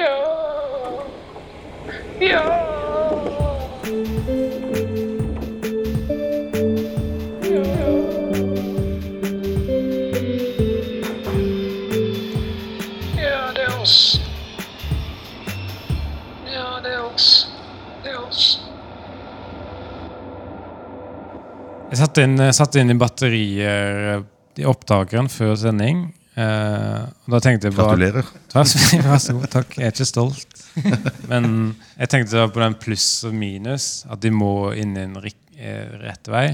Ja. Ja. Ja, det er oss. Ja, det er oss. Det er oss. Jeg satte inn, jeg satte inn i batterier eh, i opptakeren før sending. eh, og da tenkte jeg bare Gratulerer. Vær så, vær så god, takk. Jeg er ikke stolt. Men jeg tenkte da på den pluss og minus, at de må inn i en rik- eh, rett vei.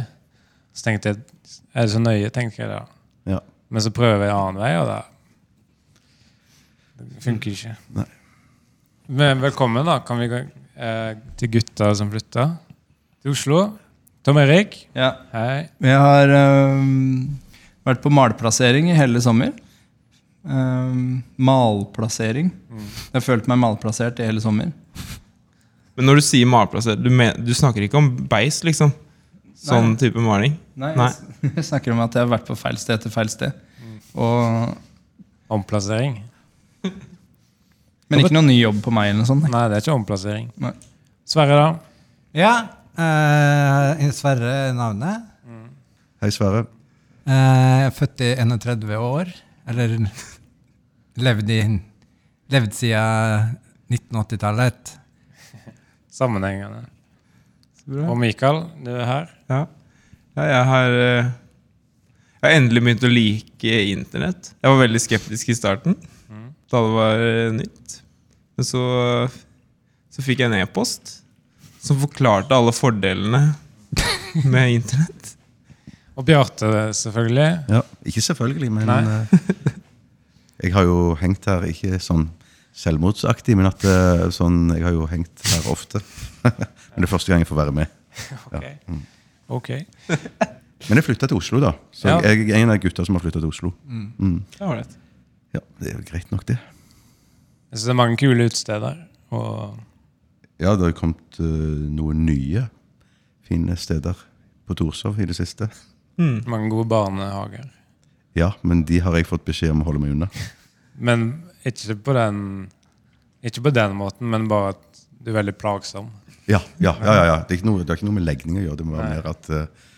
Så tenkte jeg Er det så nøye, tenker jeg da. Ja. Men så prøver jeg en annen vei, og da Det funker ikke. Nei. Men velkommen, da, kan vi gå eh, til gutta som flytta til Oslo. Tom Erik, Ja. hei. Jeg har øhm, vært på malplassering i hele sommer. Øhm, malplassering. Jeg har følt meg malplassert i hele sommer. Men når du sier malplasser, du, men, du snakker ikke om beis, liksom? Sånn Nei. type maling? Nei, Nei. Jeg, jeg snakker om at jeg har vært på feil sted etter feil sted. Og, Omplassering. men ikke noen ny jobb på meg. eller noe sånt. nei. Nei, det er ikke omplassering. Nei. Sverre, da? Ja. Eh, Sverre er navnet. Hei, Sverre. Eh, jeg er født i 31 år. Eller levd i Levd siden 1980-tallet. Sammenhengende. bra. Og Mikael, du er her. Ja. ja jeg har eh, Jeg har endelig begynt å like internett. Jeg var veldig skeptisk i starten, da det var eh, nytt. Men så, så fikk jeg en e-post som forklarte alle fordelene med internett. Og Bjarte, selvfølgelig. Ja, ikke selvfølgelig, men Nei. eh, Jeg har jo hengt her, ikke sånn selvmordsaktig, men at eh, sånn, jeg har jo hengt her ofte. men det er første gang jeg får være med. Ok. Ok. Men jeg flytta til Oslo, da. Så Ja. jeg er en av gutta som har flytta til Oslo. Det var det. Ja, Det er jo greit nok, det. Jeg synes det er mange kule utesteder. Og Ja, det har jo kommet eh, noen nye fine steder på Torshov i det siste. mange gode barnehager. Ja, men de har jeg fått beskjed om å holde meg unna. Men ikke på den Ikke på den måten, men bare at du er veldig plagsom. Ja, ja, ja, ja, ja. Det, er ikke noe, det har ikke noe med legning å gjøre. Det må være mer at, eh,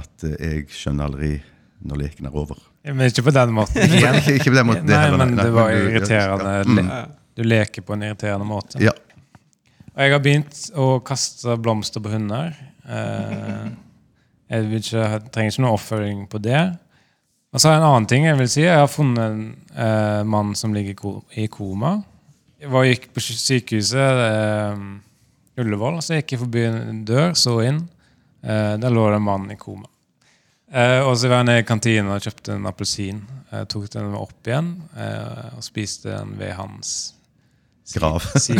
at eh, jeg skjønner aldri når leken er over. Men ikke på den måten. Ikke, igjen. ikke, ikke på den måten. Nei, heller, men det var du- irriterende. Ja. Mm. Le- Du leker på en irriterende måte. Ja. Og jeg har begynt å kaste blomster på hunder. Eh, jeg vil ikke, jeg trenger ikke noe oppfølging på det. Og så har jeg en annen ting jeg vil si. Jeg har funnet en eh, mann som ligger i ko- i koma. Jeg var, gikk på sy- sykehuset, eh, Ullevål, så gikk jeg forbi en dør, så inn. Eh, der lå det en mann i koma. Eh, og så var jeg nede i kantina og kjøpte en appelsin. Eh, tok den opp igjen eh, og spiste den ved hans Grav. side.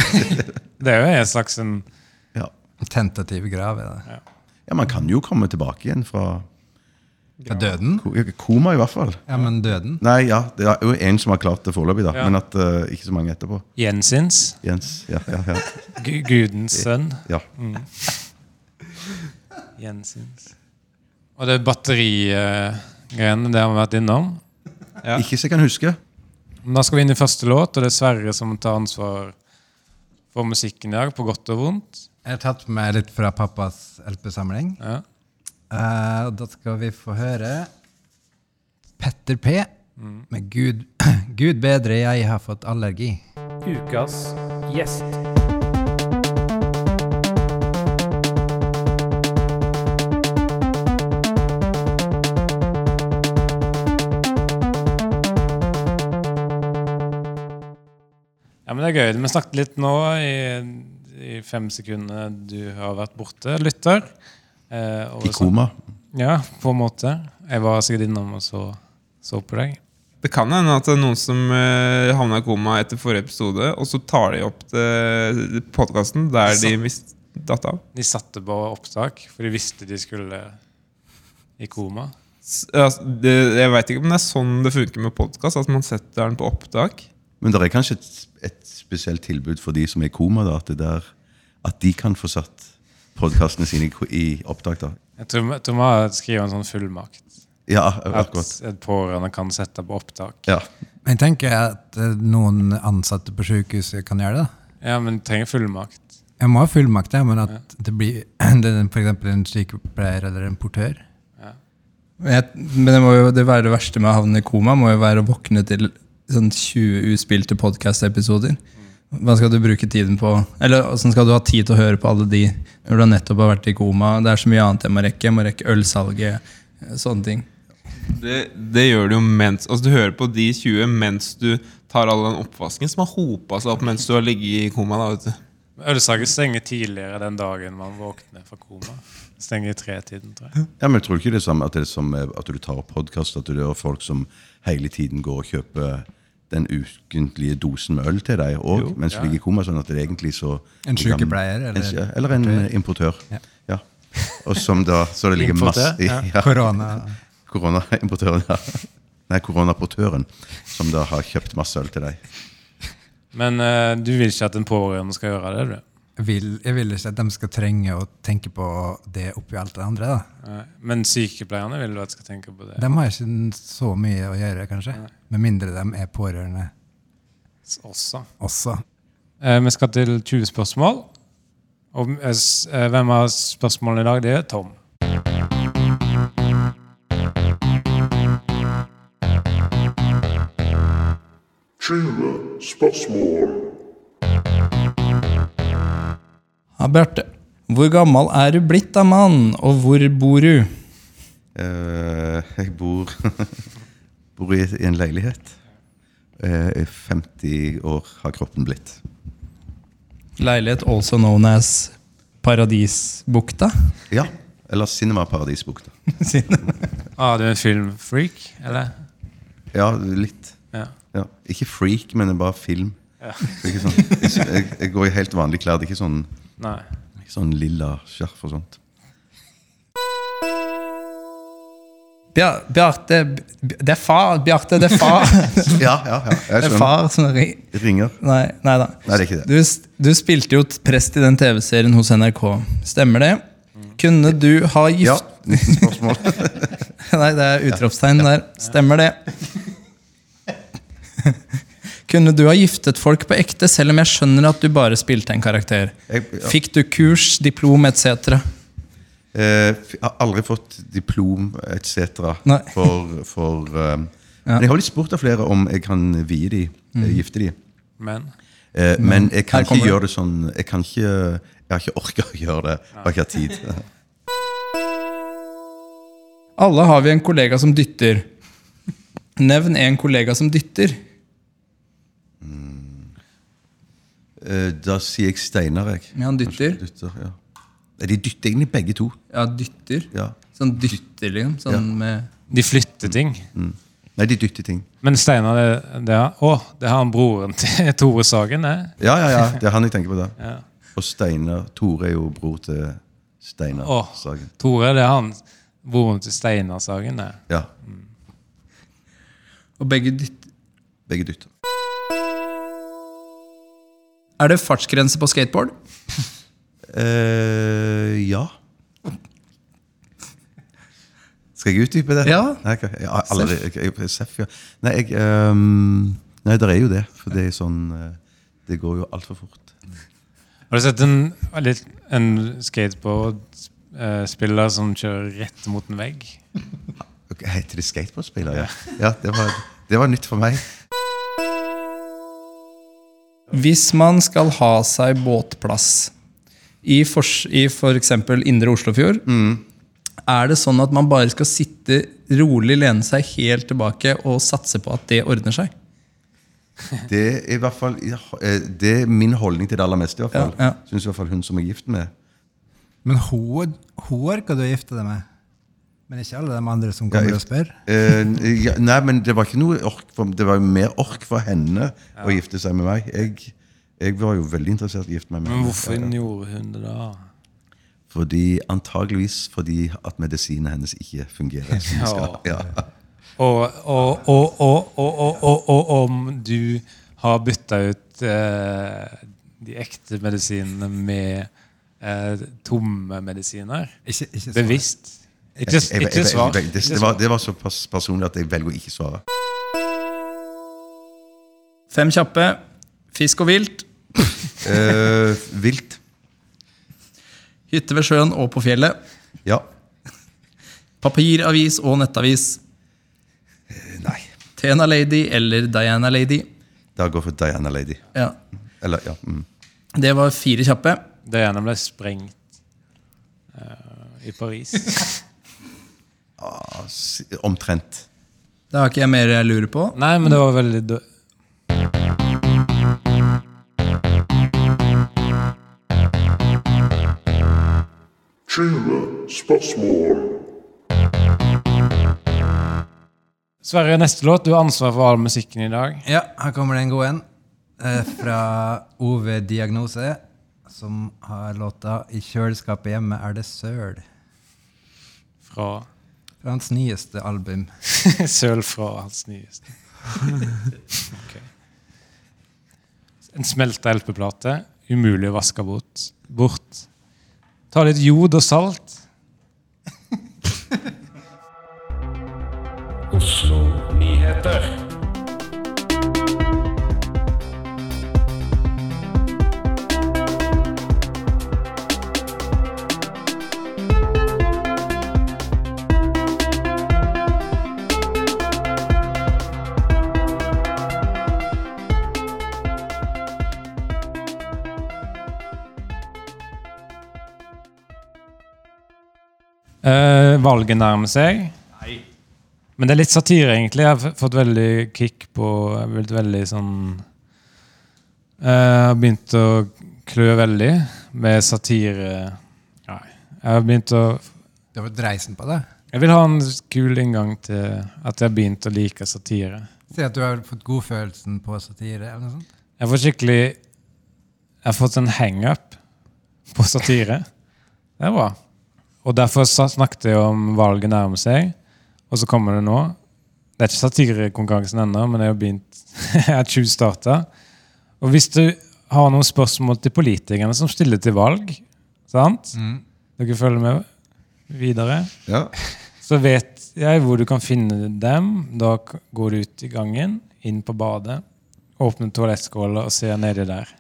Det er jo en slags en Ja. Tentativ grav. er det. ja, man kan jo komme tilbake igjen fra Ja, døden? ko- koma, i hvert fall. Ja, men døden. Nei, ja, det er jo én som har klart det foreløpig, da. Ja. Men at eh, ikke så mange etterpå. Jensins. Jens. Ja, ja, ja. Gu- Gudens sønn. ja. Jensins. Og det batterigreiene, det har vi vært innom. Ja. Ikke så jeg kan huske. Men da skal vi inn i første låt, og det er Sverre som tar ansvar for musikken i dag, på godt og vondt. Jeg har tatt med litt fra pappas LP-samling. Ja. Eh, og da skal vi få høre Petter P. med Gud, 'Gud bedre jeg har fått allergi'. Ukas gjest. Ja, men det er gøy. Vi snakket litt nå i, i fem sekunder du har vært borte, lytter. Eh, og I koma. Ja, på en måte. Jeg var sikkert innom og så, så på deg. Det kan hende at det er noen som uh, havna i koma etter forrige episode, og så tar de opp podkasten der de mist, datt av. De satte på opptak, for de visste de skulle i koma. S- altså, det, jeg veit ikke om det er sånn det funker med podkast, at man setter den på opptak. Men det er kanskje et, et spesielt tilbud for de som er i koma, da, at, det der, at de kan få satt podkastene sine i, ko- i opptak. da. Jeg tror, jeg tror man skriver en sånn fullmakt. Ja, At akkurat. et pårørende kan sette på opptak. Ja. Jeg tenker at eh, noen ansatte på sykehuset kan gjøre det. Ja, men du trenger fullmakt. Jeg må ha fullmakt, ja, men at det blir det er for eksempel en sykepleier eller en portør Jeg, men det, må jo, det, være det verste med å havne i koma må jo være å våkne til sånn 20 uspilte podkast-episoder. Hva skal du bruke tiden på? Eller Hvordan skal du ha tid til å høre på alle de når du har nettopp har vært i koma? Det er så mye annet jeg må rekke. Jeg må rekke ølsalget, sånne ting. Det, det gjør du jo mens Altså Du hører på de 20 mens du tar all den oppvasken som har hopa seg opp mens du har ligget i koma. da, vet du Ølsaker stenger tidligere den dagen man våkner fra koma. Stenger i tretiden, tror jeg. Ja, men jeg tror ikke det er samme at, det er som eh, at du tar podkast, at du hører folk som hele tiden går og kjøper den ukentlige dosen med øl til deg òg, mens du ligger i koma. sånn at det er egentlig så... En sykepleier, eller- en, eller en eh, importør. Ja. Og som da, så det ligger masse i Importør, ja. Korona. Koronaimportøren, ja. Nei, koronaportøren, som da har kjøpt masse øl til deg. Men eh, du vil ikke at en pårørende skal gjøre det? du? Jeg vil, jeg vil ikke at de skal trenge å tenke på det oppi alt det andre. da. Nei. Men sykepleierne vil du at skal tenke på det? De har ikke så mye å gjøre, kanskje. Med mindre de er pårørende Også. også. Eh, vi skal til 20 spørsmål. Og eh, s- eh, hvem har spørsmålene i dag? Det er Tom. Ja, Bjarte, hvor gammel er du blitt da, mann? Og hvor bor du? Eh, jeg bor, bor i, i en leilighet. Eh, i 50 år har kroppen blitt. Leilighet also known as Paradisbukta. Ja. Eller Cinema Paradisbukta. Ah, du er en filmfreak, eller? Ja, litt. Ja. Ja. Ikke freak, men det er bare film. Det er ikke sånn, jeg, jeg, jeg går i helt vanlige klær. Det er ikke sånn, Nei. ikke sånn lilla skjerf og sånt. Bjar- Bjarte Bj- Det er far! Bjarte, det er far! Ja, ja, ja. Det Jeg er skjønner. far som ringer. Ringer. Nei, nei da. Nei, det er ikke det. Du, s- du spilte jo t- prest i den TV-serien hos NRK. Stemmer det? Kunne du ha gift... Ja, 19 spørsmål. Nei, det er utropstegn der. Stemmer det? Kunne du ha giftet folk på ekte, selv om jeg skjønner at du bare spilte en karakter? Jeg- ja. Fikk du kurs, diplom etc.? Eh, f- har aldri fått diplom etc. Nei. for, for eh, Men jeg har blitt spurt av flere om jeg kan vie de, eh, gifte de. Men Eh, men jeg kan ikke Mm. Her kommer det. gjøre det sånn Jeg kan ikke Jeg har ikke orka å gjøre det. Jeg har ikke hatt tid. Alle har vi en kollega som dytter. Nevn en kollega som dytter. Eh, da sier jeg Steinar, jeg. Ja, han dytter. dytter ja. Nei, De dytter egentlig begge to. Ja, dytter. Ja. Sånn dytter, liksom. Sånn Ja. med de flytter ting. Nei, de dytter ting. Men Steinar, det, det, er- å, det har han broren til Tore Sagen, det. Ja, ja, ja, det er han jeg tenker på da. Ja. Og Steinar Tore er jo bror til Steinar Åh. Sagen. Tore, det er han broren til Steinar Sagen, det. Ja, Og begge dytter. begge dytter. Er det fartsgrense på skateboard? eh ja. Skal jeg utdype det? Ja. Nei, jeg, jeg, har aldri, jeg, jeg, Seff, ja. Nei, jeg, ehm, nei, der er jo det. For det er sånn eh, Det går jo altfor fort. Har du sett en, litt- en skateboardspiller som kjører rett mot en vegg? Ok, Heter det skateboardspiller? Ja. ja det, var, det var nytt for meg. Hvis man skal ha seg båtplass i fors- i for eksempel indre Oslofjord, er det sånn at man bare skal sitte rolig, lene seg helt tilbake og satse på at det ordner seg? Det er i hvert fall ja, eh, Det er min holdning til det aller meste. i hvert fall Ja, ja. Synes i hvert fall hun som er gift med Men hun, hun orker du å gifte deg med. Men ikke alle de andre som Ja, kommer jeg- og spør. Eh, ja, Nei, men det var ikke noe ork for, Det var jo mer ork for henne å gifte seg med meg. Jeg, jeg var jo veldig interessert i å gifte meg med Men henne. hvorfor gjorde hun det da? Fordi, Antageligvis fordi at medisinen hennes ikke fungerer. som den skal. Ja. Og, og, og, og, og, og, og, og om du har bytta ut eh, de ekte medisinene med eh, tomme medisiner? Ikke, ikke så- Bevisst. Ikke, Jeg- jeg- jeg- ikke jeg- svar. jeg- Det, det, var, det var såpass personlig at jeg velger å ikke svare. Fem kjappe. Fisk og vilt. Eh, vilt. Hytte ved sjøen og på fjellet. Ja. Papiravis og nettavis. Nei. Tena Lady eller Diana Lady. Da går jeg for Diana Lady. Ja. Eller, ja. Mm. Det var fire kjappe. Det ene ble sprengt eh, i Paris. S- Omtrent. Da har ikke jeg mer jeg lurer på. Nei, men det var veldig dø Sverre, neste låt. Du har ansvar for all musikken i dag. Ja, her kommer det en god en. eh, Fra Ove Diagnose, som har låta 'I kjøleskapet hjemme er det søl'. Fra Fra hans nyeste album. Søl fra hans nyeste. Ok. En smelta LP-plate. Umulig å vaske bort. bort. Ta litt jod og salt. Oslo nyheter. Eh, valget nærmer seg. Men det er litt satire, egentlig. Jeg har f- fått veldig kick på Jeg har blitt veldig sånn eh, Jeg har begynt å klø veldig med satire Nei. Jeg har begynt å Det var dreisen på deg. Jeg vil ha en kul inngang til at jeg har begynt å like satire. Si at du har fått godfølelsen på satire. eller noe sånt. Jeg får skikkelig Jeg har fått en hangup på satire. Det er bra. Og derfor sa- snakket jeg om valget nærmer seg, og så kommer det nå. Det er ikke satirekonkurransen ennå, men jeg har begynt. jeg har tjuvstarta. Og hvis du har noen spørsmål til politikerne som stiller til valg, sant? Dere følger med videre? Ja. Så vet jeg hvor du kan finne dem. Da k- går du ut i gangen, inn på badet, åpner toalettskåla og ser nedi der.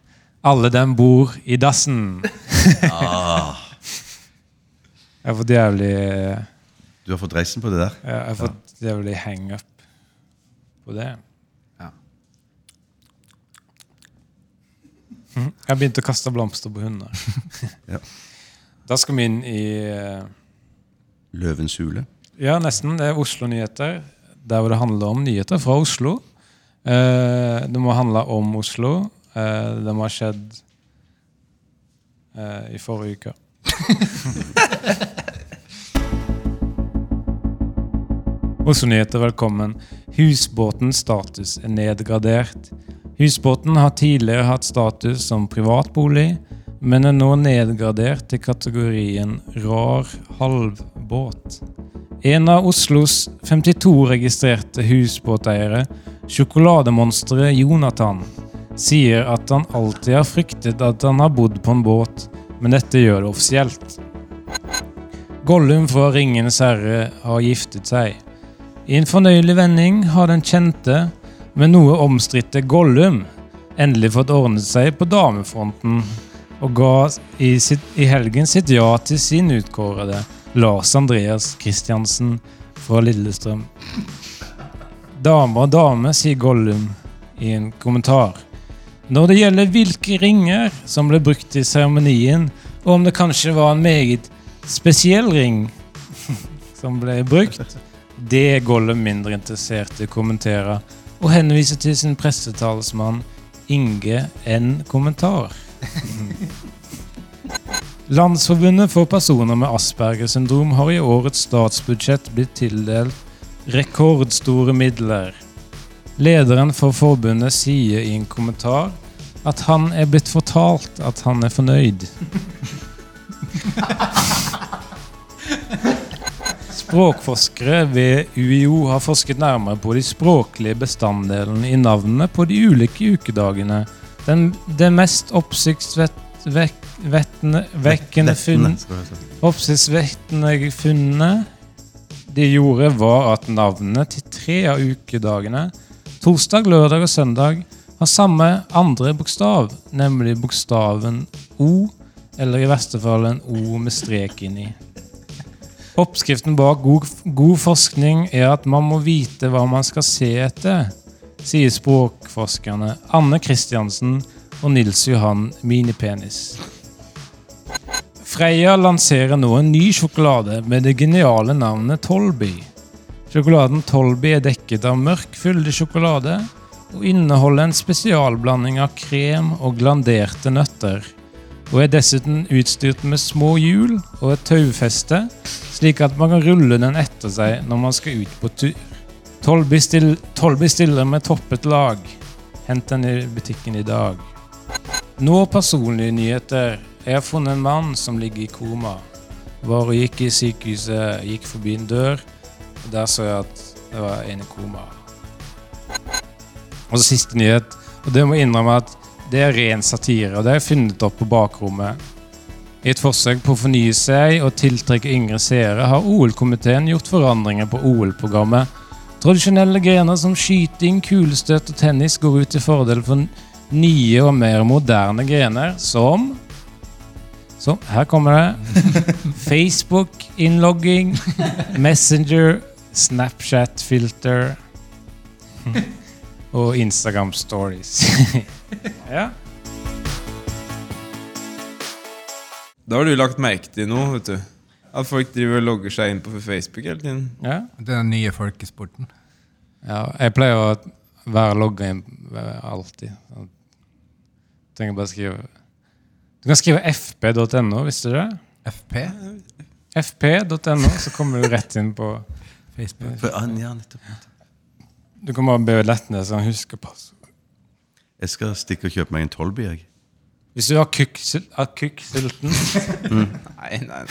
Alle dem bor i dassen. Jeg har fått jævlig Jeg Du har fått reisen på det der. har fått jævlig hangup på det. Mhm. Jeg har begynt å kaste blomster på hunder. Ja. Da skal vi inn i eh, Løvens hule. Ja, nesten. Det er Oslo-nyheter. Der hvor det handler om nyheter fra Oslo. Eh, det må handle om Oslo. Eh, det må ha skjedd eh, i forrige uke. Oslo-nyheter, velkommen. Husbåtens status er nedgradert. Husbåten har tidligere hatt status som privatbolig, men er nå nedgradert til kategorien rar halvbåt. En av Oslos 52 registrerte husbåteiere, sjokolademonsteret Jonathan, sier at han alltid har fryktet at han har bodd på en båt, men dette gjør det offisielt. Gollum fra Ringenes herre har giftet seg. I en fornøyelig vending har den kjente, men noe omstridte Gollum endelig fått ordnet seg på damefronten, og ga i, sitt, i helgen sitt ja til sin utkårede, Lars Andreas Kristiansen fra Lillestrøm. Dame og dame, sier Gollum i en kommentar. Når det gjelder hvilke ringer som ble brukt i seremonien, og om det kanskje var en meget spesiell ring som ble brukt, det er Gollum mindre interessert i å kommentere, og henviser til sin pressetalsmann Inge N. Kommentar. Landsforbundet for personer med Aspergers syndrom har i årets statsbudsjett blitt tildelt rekordstore midler. Lederen for forbundet sier i en kommentar at han er blitt fortalt at han er fornøyd. Språkforskere ved UiO har forsket nærmere på de språklige bestanddelene i navnene på de ulike ukedagene. Den, det mest oppsiktsvekkende funn Vettene, skal jeg si. Oppsiktsvekkende funnet de gjorde, var at navnene til tre av ukedagene, torsdag, lørdag og søndag, har samme andre bokstav, nemlig bokstaven O, eller i verste fall en O med strek inni. Oppskriften bak god, god forskning er at man må vite hva man skal se etter, sier språkforskerne Anne Kristiansen og Nils Johan Minipenis. Freia lanserer nå en ny sjokolade med det geniale navnet Tolby. Sjokoladen Tolby er dekket av mørk fyldig sjokolade og inneholder en spesialblanding av krem og glanderte nøtter. Og er dessuten utstyrt med små hjul og et taufeste, slik at man kan rulle den etter seg når man skal ut på tur. Tolby, still, Tolby stiller med toppet lag. Hent den i butikken i dag. Nå personlige nyheter. Jeg har funnet en mann som ligger i koma. Var og gikk i sykehuset, gikk forbi en dør, og der så jeg at det var en i koma. Og så siste nyhet, og det må jeg innrømme at det er ren satire, og det har jeg funnet opp på bakrommet. I et forsøk på å fornye seg og tiltrekke yngre seere har OL-komiteen gjort forandringer på OL-programmet. Tradisjonelle grener som skyting, kulestøt og tennis går ut til fordel for nye og mer moderne grener som som, her kommer det. Facebook-innlogging, Messenger, Snapchat-filter og Instagram-stories. ja. Da har du lagt merke til noe, vet du. At folk driver og logger seg inn på Facebook hele tiden. ja. Det er den nye folkesporten. Ja, jeg pleier å være logga inn eh, alltid. Så Tenker jeg bare å skrive Du kan skrive fp.no, visste du det? FP? fp.no, så kommer du rett inn på Facebook. For, an- ja, nettopp. Du kan bare be Letnes så han husker passord. Jeg skal stikke og kjøpe meg en Tolby, jeg. Hvis du har kukksul- har kukksulten Nei, nei, nei.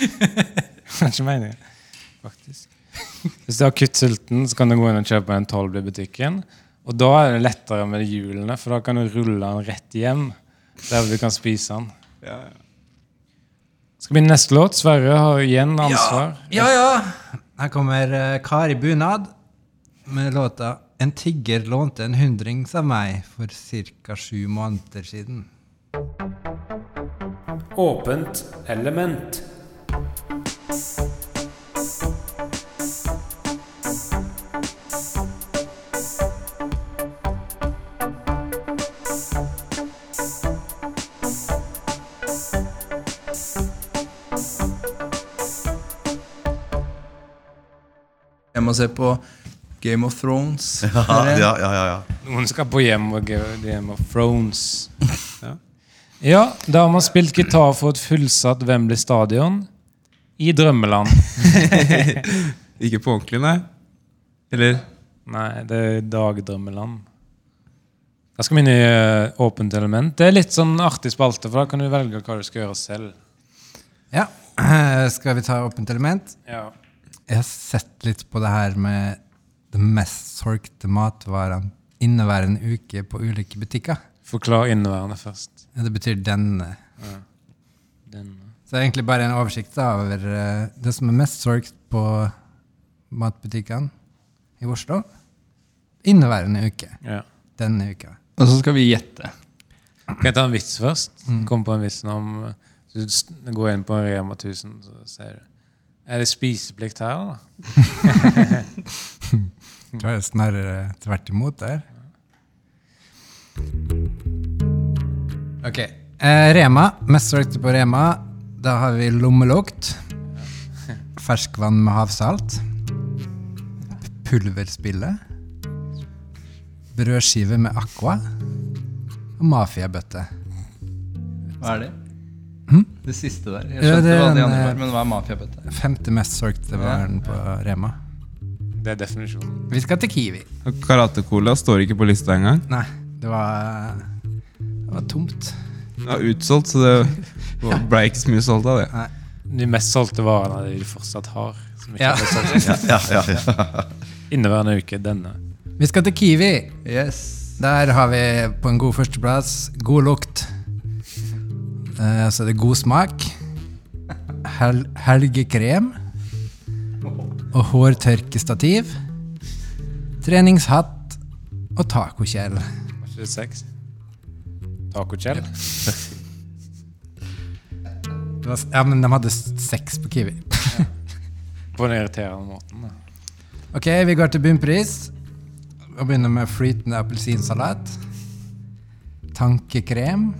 Det er ikke meningen, faktisk. Hvis du har kuttsulten, så kan du gå inn og kjøpe en tolv i butikken. Og da er det lettere med hjulene, for da kan du rulle den rett hjem. Der du kan spise den. Ja, ja. Skal bli neste låt. Sverre har igjen ansvar. Ja, ja! Her kommer eh, Kari Bunad med låta 'En tigger lånte en hundrings av meg' for ca. sju måneder siden. Åpent element. Jeg må se på Game of Thrones. Ja, Ah, ja, ja, ja, ja. Noen skal på hjem og gå- Game of Thrones. Ja, da har man spilt gitar for et fullsatt Wembley stadion. I drømmeland. Ikke på ordentlig, nei. Eller? Nei, det er Dagdrømmeland. Da skal vi inn i eh, Åpent element. Det er litt sånn artig spalte, for da kan du velge hva du skal gjøre selv. Ja, skal vi ta åpent element? Ja. Jeg har sett litt på det her med de mest solgte matvarene inneværende uke på ulike butikker. Forklar inneværende først. Ja, Det betyr denne. Den. Så det er egentlig bare en oversikt da over eh, det som er mest solgt på matbutikkene i Oslo inneværende uke. Ja. Denne uka. Og så skal vi gjette. Kan jeg ta en vits først? Kom på en vits nå om eh, Du s- går inn på en Rema 1000, så ser du. Er det spiseplikt her, da? Jeg tror det er snarere tvert imot der. Ok. Eh, Rema. Mest solgte på Rema. Da har vi lommelukt. Ferskvann med havsalt. Pulverspille. Brødskive med aqua. Og mafiabøtte. Hva er det? Hm? Det siste der. Jeg Ja, skjønte det er hva de en, andre eh, var, men hva er mafiabøtte? Femte mest solgte varen på Rema. Det er definisjonen. Vi skal til Kiwi. Og Karate-cola står ikke på lista engang. Nei, det var, det var tomt. Den var utsolgt, så det ble ikke så mye solgt av det. De mest solgte varene er de de fortsatt har. Som ikke Ja. er blitt solgt. ja, ja, ja. Inneværende uke, denne. Vi skal til Kiwi. Yes. Der har vi på en god førsteplass god lukt. Eh, så er det god smak. Hel helgekrem. Og hårtørkestativ. Treningshatt og tacokjell. 26. Taco-Kjell. Det var, s- ja, men de hadde s- seks på Kiwi. På den irriterende måten. Da. Ok, vi går til bunnpris. Og begynner med flytende appelsinsalat. Tankekrem.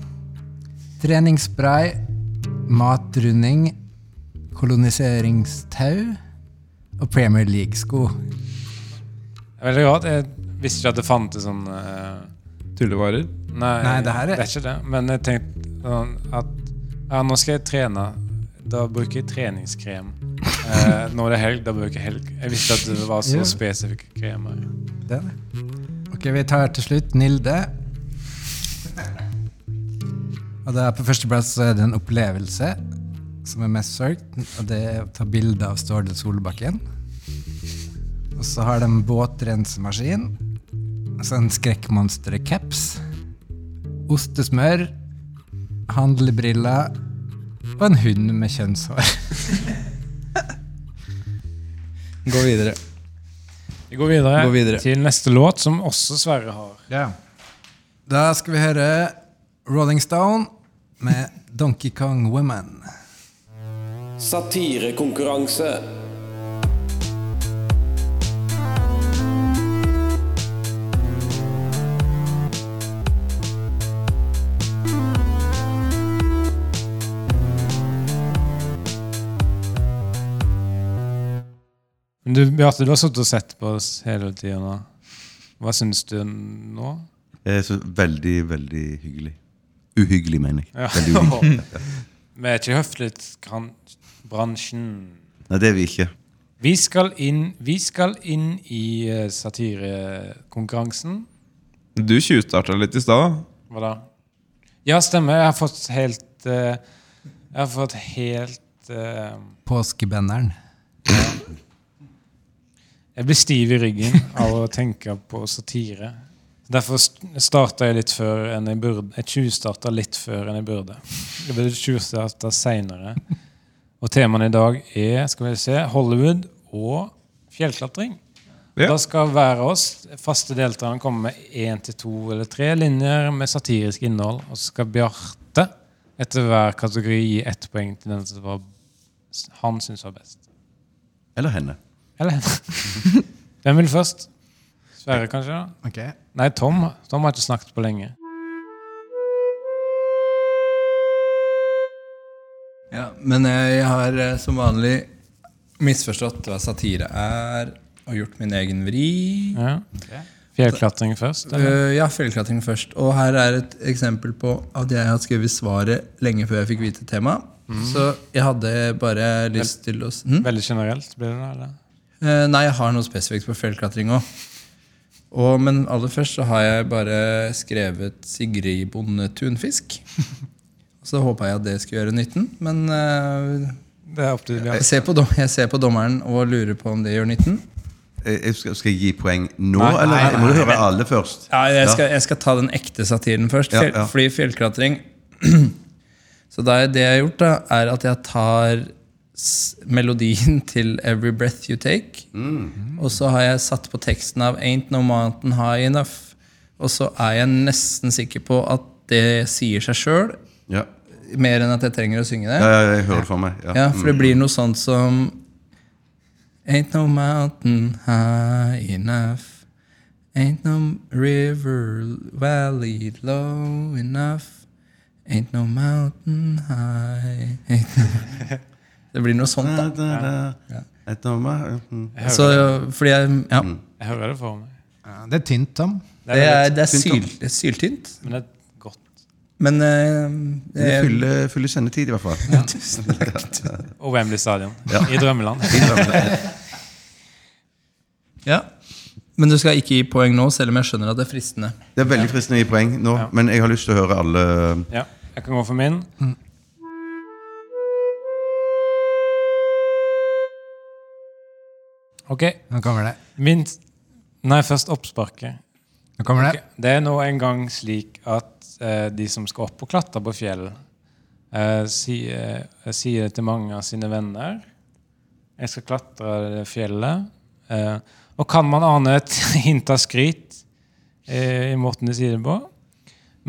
Treningsspray. Matrunding. Koloniseringstau. Og Premier League-sko. Det er Veldig rart. Jeg visste ikke at det fantes sånn eh, Tullevarer. Nei, Nei, det her er- det er ikke det. Men jeg tenkte sånn at ja, nå skal jeg trene. Da bruker jeg treningskrem. Eh, når det er helg, da bruker jeg helg. Jeg visste at det var så Ja. spesifikke kremer. Det er det. Ok, vi tar til slutt Nilde. Og da på førsteplass så er det en opplevelse som er mest søkt, og det er å ta bilde av Ståle Solbakken. Og så har de en båtrensemaskin, og så en skrekkmonster-caps, ostesmør, handlebriller og en hund med kjønnshår. Gå videre. Vi går videre, Gå videre. til neste låt, som også Sverre har. Da skal vi høre Rolling Stone med Donkey Kong Women. Satirekonkurranse. Men du, Bjarte, du har sittet og sett på oss hele tida nå. Hva syns du nå? Eh, Så veldig, veldig hyggelig. Uhyggelig, mener jeg. Veldig uhyggelig. Vi er ikke høflighetsbransjen. Nei, det er vi ikke. Vi skal inn, vi skal inn i eh, satirekonkurransen. Du tjuvstarta litt i stad. da. Hva da? Ja, stemmer. Jeg har fått helt eh, Jeg har fått helt eh, Påskebenderen. Jeg blir stiv i ryggen av å tenke på satire. Derfor starta jeg litt før enn jeg burde. Jeg tjuvstarta litt før enn jeg burde. Jeg burde tjuvstarta seinere. Og temaene i dag er skal vi se, Hollywood og fjellklatring. Ja. Da skal hver av oss faste deltakerne komme med én til to eller tre linjer med satirisk innhold. Og så skal Bjarte etter hver kategori gi ett poeng til den som var, han syns var best. Eller henne. Eller Hvem vil først? Sverre, kanskje? da? Okay. Nei, Tom. Tom har ikke snakket på lenge. Ja, men jeg har eh, som vanlig misforstått hva satire er, og gjort min egen vri. Ja. Fjellklatring først? Eller? Øh, ja, fjellklatring først. Og her er et eksempel på at jeg har skrevet svaret lenge før jeg fikk vite temaet. Så jeg hadde bare lyst til å s- hm? Veldig generelt? blir det da, eller? Eh, Nei, jeg har noe spesifikt på fjellklatring òg. Og, men aller først så har jeg bare skrevet Sigrid Bonde Tunfisk. Så håpa jeg at det skulle gjøre nytten, men eh, Det er opp til jeg, Bjarte. ser på dom, jeg ser på dommeren og lurer på om det gjør nytten. Eh, Jeg skal, skal jeg gi poeng nå, Nei, eller? nei, jeg må jo høre alle først. Ja, jeg skal, jeg skal ta den ekte satiren først. Ja, Fjell, ja. Fordi fjellklatring Så da, det jeg har gjort, da, er at jeg tar s- melodien til 'Every Breath You Take'. Og så har jeg satt på teksten av 'Ain't No Mountain High Enough'. Og så er jeg nesten sikker på at det sier seg sjøl, Ja. mer enn at jeg trenger å synge det. Ja, ja, jeg hører det for meg. Ja. Ja, for det blir noe sånt som Ain't no mountain high enough Ain't no river valley low enough Ain't no mountain high ain't no... Det blir noe sånt da Da, da, da. Et nummer, ja. Mm. Så fordi jeg Ja, Jeg hører det for meg. Ja, det er tynt, Tom. det er, det er syl, det er syltynt Men det er godt. Men Det eh, jeg, fyller, fyller sendetid, i hvert fall. Ja. Og Wembley stadion. I drømmeland. ja. Men du skal ikke gi poeng nå Selv om jeg skjønner at det er fristende Det er veldig fristende å gi poeng nå, men jeg har lyst til å høre alle Ja, jeg kan gå for min. Ok. Nå kommer det. Min Nei, først oppsparket. Nå kommer det. Ok, Det er nå en gang slik at eh, de som skal opp og klatre på fjell, eh, sier, sier til mange av sine venner Jeg skal klatre det fjellet. eh, og kan man ane et hint av skryt eh, i måten de sier det på?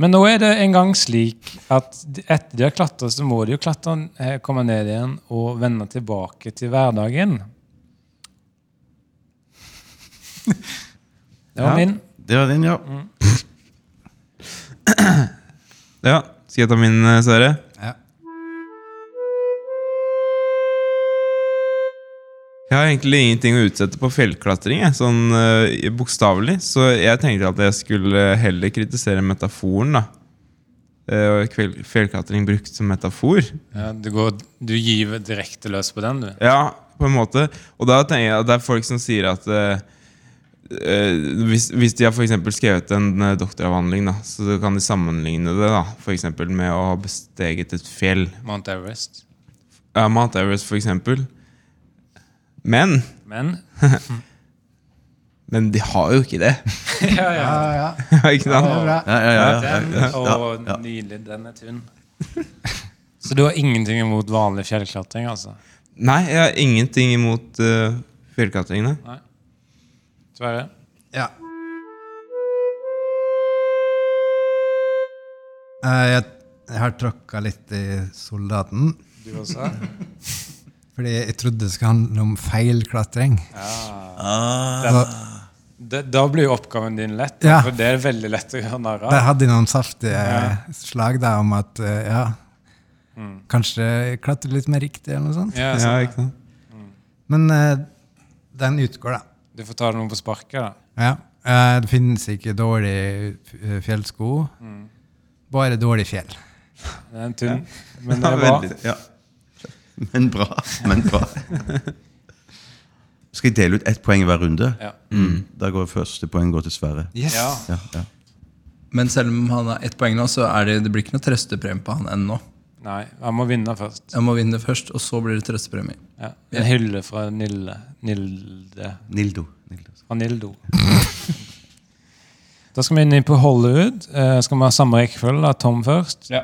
Men nå er det en gang slik at de- etter de har klatra, så må de jo klatre, eh, komme ned igjen og vende tilbake til hverdagen. Det var Ja. min. Det var din, ja. Mm. Ja, skal jeg ta min, eh, Sverre? Ja. Jeg har egentlig ingenting å utsette på fjellklatring, jeg, sånn eh, bokstavelig. Så jeg tenkte at jeg skulle eh, heller kritisere metaforen, da. Eh, og kveld- fjellklatring brukt som metafor. Ja, du, går, du gyver direkte løs på den, du. Ja, på en måte. Og da tenker jeg at det er folk som sier at eh, eh, hvis, hvis de har for eksempel skrevet en eh, doktoravhandling, da, så kan de sammenligne det da, for eksempel med å ha besteget et fjell. Mount Everest. Ja, Mount Everest, for eksempel. Men, Men men de har jo ikke det. ja, ja. Ja, ja. ikke sant? Det er bra. Ja, ja, ja, ja, ja, Den, ja, ja, og nydelig. Den er tynn. Så du har ingenting imot vanlig fjellklatring, altså? Nei, jeg har ingenting imot uh, fjellklatringene. Sverre? Ja. Eh, Jeg, jeg har tråkka litt i soldaten. Du også? Fordi jeg trodde det skulle handle om feilklatring. Den, det, da blir jo oppgaven din lett. da, Ja. For det er veldig lett å gjøre narr av. Der hadde de noen saftige slag da, om at eh, ja, kanskje klatre litt mer riktig eller noe sånt. Mm. Ja, Ja, så, ikke sant? Men eh, den utgår, da. du får ta det noe på sparket, da. Ja. Eh, det finnes ikke dårlig eh, fjellsko. Mm. Bare dårlig fjell. Den er tynn, men det Ja, er bra. veldig. ja. Men bra. Men bra. Skal jeg dele ut ett poeng hver runde? Ja. Mm. Da går første poeng går til Sverre. Ja. Ja, ja. Men selv om han har ett poeng nå, så er det, det blir ikke noe trøstepremie på han ennå. Nei, han må vinne først. Jeg må vinne først, og så blir det trøstepremie. Ja. En hylle fra Nille. Nilde. Nildo. Nildo. Fra Nildo. Da skal vi inn på Hollywood. Eh, skal vi ha samme rekkefølge? da? Tom først? Ja.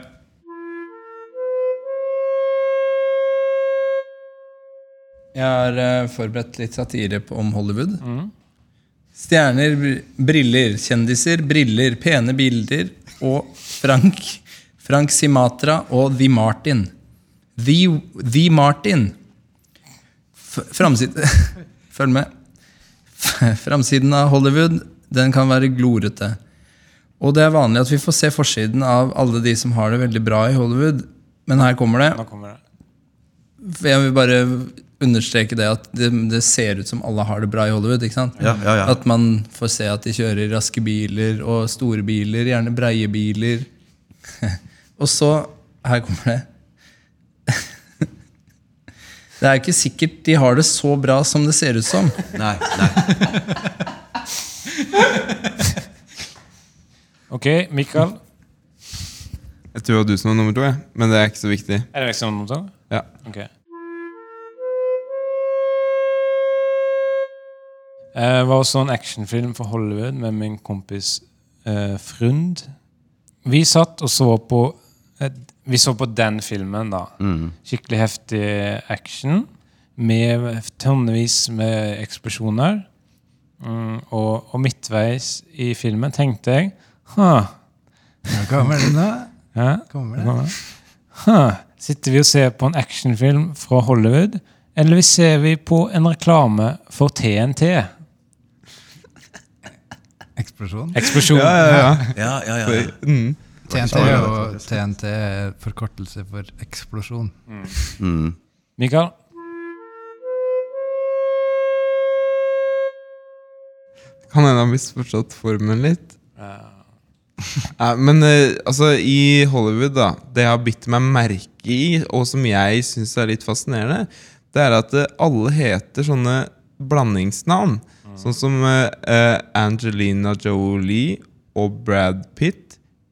Jeg har eh, forberedt litt satire på, om Hollywood. Stjerner, br- briller, kjendiser, briller, pene bilder og Frank Frank Simatra og The Martin. The, The Martin. F- Framsiden Følg med. F- Framsiden av Hollywood den kan være glorete. Og det er vanlig at vi får se forsiden av alle de som har det veldig bra i Hollywood. Men her kommer det. Nå kommer det. For Jeg vil bare understreke det at det, det ser ut som alle har det bra i Hollywood. ikke sant? Ja, ja, ja. At man får se at de kjører raske biler og store biler, gjerne breie biler. og så Her kommer det. det er ikke sikkert de har det så bra som det ser ut som. Nei, nei. Ok, Mikael. Jeg tror det var du som var nummer to, jeg. men det er ikke så viktig. Er det liksom vekstnummer? Ja. Ok. Jeg var også Eh, en actionfilm fra Hollywood med min kompis eh, Frund. Vi satt og så på eh, Vi så på den filmen, da. Skikkelig heftig action. Med tonnevis med eksplosjoner. Mm, og, og midtveis i filmen tenkte jeg Huh, Nå kommer det nå. hæ? Kommer det. Ja. Huh. Ah, Sitter vi og ser på en actionfilm fra Hollywood, eller vi ser vi på en reklame for TNT? Eksplosjon. Eksplosjon. Ja, ja, ja. Ja, ja, ja. ja. Mm. TNT er jo TNT er forkortelse for eksplosjon. Mm. Mikael? Kan hende han har misforstått formen litt. Nei, men eh, altså, i Hollywood, da det jeg har bitt meg merke i, og som jeg syns er litt fascinerende, det er at eh, alle heter sånne blandingsnavn. Sånn som eh, eh, Angelina Jolie og Brad Pitt.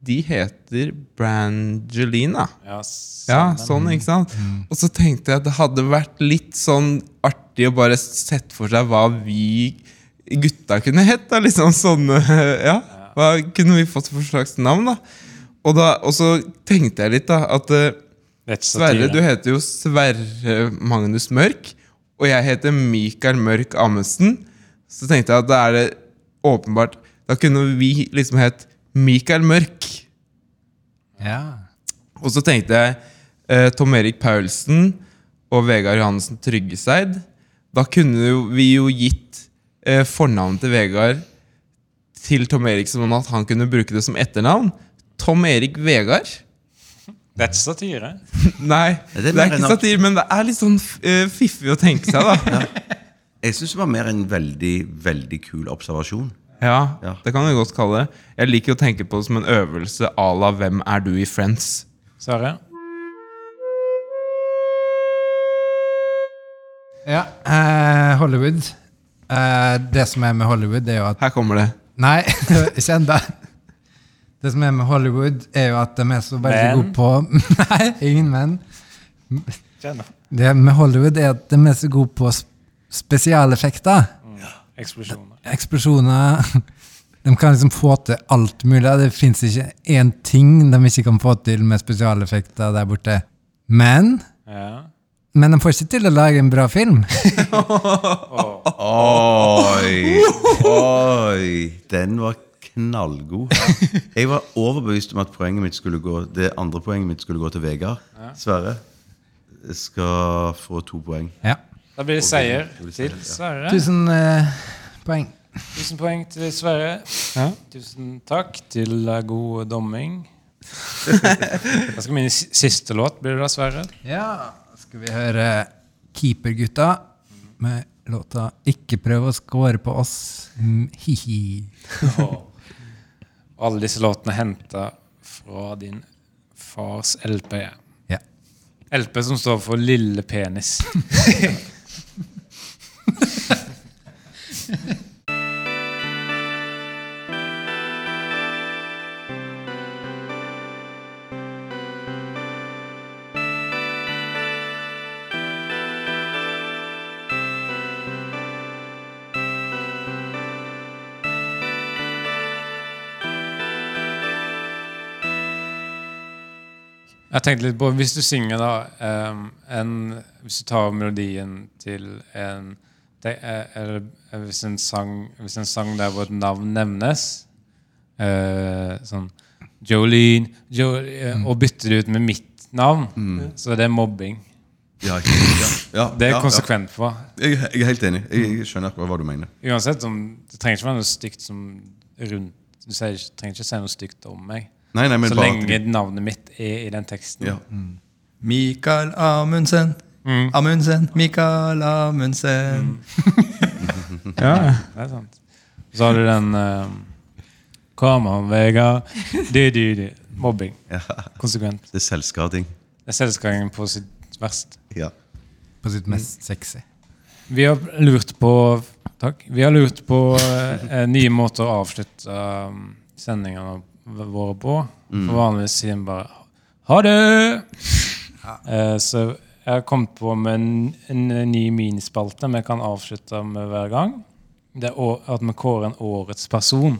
De heter Brangelina. Ja, Ja, sånn, ikke sant? Og så tenkte jeg at det hadde vært litt sånn artig å bare sette for seg hva vi gutta kunne hett. da, liksom sånne, ja, Hva kunne vi fått for slags navn, da? Og, da, og så tenkte jeg litt, da, at eh, Rett Sverre, du heter jo Sverre Magnus Mørk, og jeg heter Mikael Mørk Amundsen. Så tenkte jeg at da er det åpenbart Da kunne vi liksom hett Mikael Mørk. Ja. Og så tenkte jeg eh, Tom Erik Paulsen og Vegard Johansen Tryggeseid. Da kunne jo- vi jo gitt eh, fornavnet til Vegard til Tom Erik sånn at han kunne bruke det som etternavn. Tom Erik Vegard? Det er ikke satire. Nei, Ja, det er det er, mer ikke en- satir, men det er litt sånn eh, fiffig å tenke seg, da. Jeg syns det var mer en veldig, veldig kul observasjon. ja, Ja. det kan du godt kalle det. Jeg liker å tenke på det som en øvelse à la 'Hvem er du i Friends'? Sverre? ja. eh, Hollywood. Eh, det som er med Hollywood, det er jo at Her kommer det. Nei, ikke ennå. Det som er med Hollywood, er jo at de er så veldig Men? gode på Nei, ingen men. Kjenner. Det med Hollywood er at de er så gode på sp- spesialeffekter. Eksplosjoner. Eksplosjoner. De kan liksom få til alt mulig. Det fins ikke én ting de ikke kan få til med spesialeffekter der borte. Men, Ja. men de får ikke til å lage en bra film. Oi! Oi! Den var knallgod. Jeg var overbevist om at poenget mitt skulle gå det andre poenget mitt skulle gå til Vegard. Sverre skal få to poeng. Ja. Da blir det seier Det blir seier, til Sverre. Tusen eh, poeng. Tusen poeng til Sverre. Tusen takk til eh, god domming. Da skal min si- siste låt blir det da, Sverre. Ja, skal vi høre Keepergutta med låta 'Ikke prøv å score på oss'. Mm, Hi-hi. Og Alle disse låtene er henta fra din fars LP. Ja. LP som står for Lille penis. Jeg tenkte litt på, Hvis du synger da em, en, Hvis du tar melodien til en det er, eller, eh, hvis, en sang, hvis en sang der hvor et navn nevnes eh, Sånn Jolene jo, eh, Mm. Og bytter det ut med mitt navn, så det er mobbing. Ja, ja, ja, Det er Mm. ja, konsekvent på. ja. Jeg, jeg er helt enig. Jeg, jeg skjønner akkurat hva du mener. Uansett, om, Det trenger ikke være noe stygt som rundt Du sier, ikke- trenger ikke si noe stygt om meg. Nei, nei, men Så bare at lenge navnet mitt er i den teksten. ja. Mikael Amundsen. Mm. Amundsen, Mikael Amundsen. Det er sant. Så har du den uh, Kom an, Vegard. Du, du, du. Mobbing. Konsekvent. Det er selvskading. Det er selvskading på sitt verst. Ja. På sitt mest sexy. Vi har lurt på Takk. Vi har lurt på eh, nye måter å avslutte eh, sendingene v- våre på. For vanligvis sier vi bare ha det! Eh, så jeg har kommet på med en, en ny minispalte vi kan avslutte med hver gang. Det er å- at vi kårer en årets person.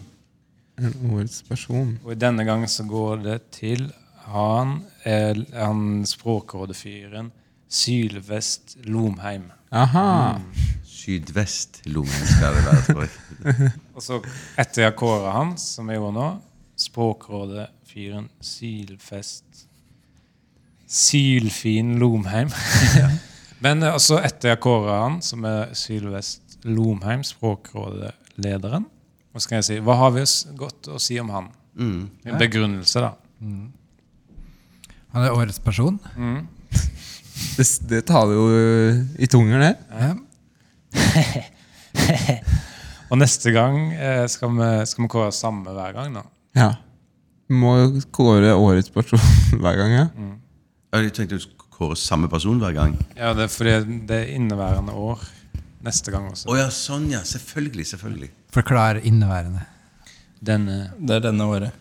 Årets person. Og i denne gang så går det til han, eh, han språkrådefyren Sylvest Lomheim. Aha. Sydvest-lommen skal det være, tror jeg. Og så etter jeg kåra han, som jeg gjorde nå, språkrådefyren Sylfest Sylfin Lomheim. Men eh, også etter jeg kåra han, som er Sylvest Lomheim, språkrådelederen, og så kan jeg si hva har vi s- godt å si om han? En begrunnelse, da. Han er årets person. Det, det taler jo eh, i tunger, det. Ja. Og neste gang eh, skal, vi, skal vi kåre samme hver gang, da. Ja. Må jo kåre årets person hver gang, ja. Jeg tenkte du skulle kåre samme person hver gang. Ja, det er fordi det er inneværende år. Neste gang også. Å ja, sånn, ja. Selvfølgelig. selvfølgelig. Forklar inneværende. Denne Det er denne året.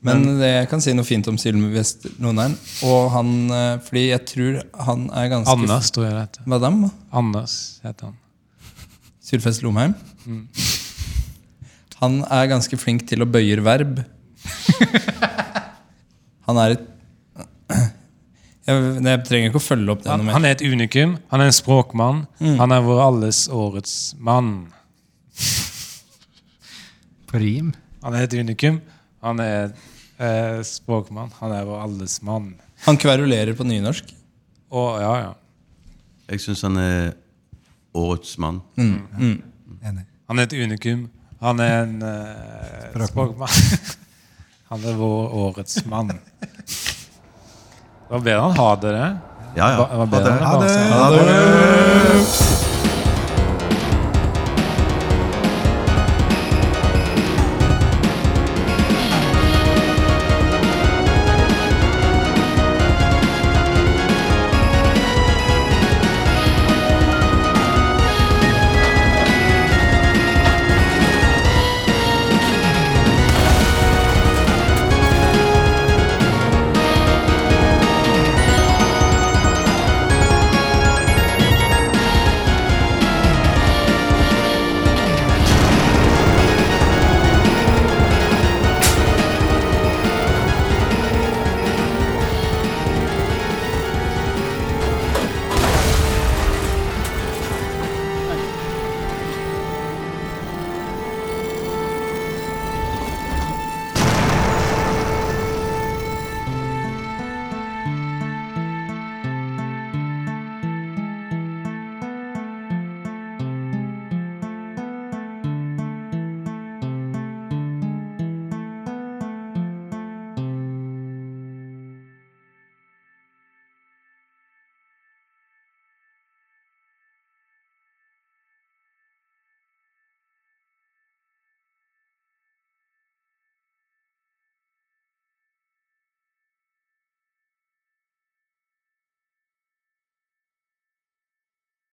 Men Mm. det, jeg kan si noe fint om Sylvest Lonheim. Og han, eh, fordi jeg tror han er ganske Anders, tror jeg det heter. Madam? Anders heter han. Sylfest Lomheim. Mm. Han er ganske flink til å bøye verb. han er et jeg, jeg trenger ikke å følge opp det han. noe mer. Han er et unikum. Han er en språkmann. Han er vår alles årets mann. På rim. Han er et unikum. Han er eh, språkmann. Han er vår alles mann. Han kverulerer på nynorsk. Og ja, ja. Jeg syns han er årets mann. Enig. Han er et unikum. Han er en eh, språkmann. Språkmann. Han er vår årets mann. Det var bedre han hadde det. Ja, ja. Det var bedre han hadde Ha dansa. det! Ha det.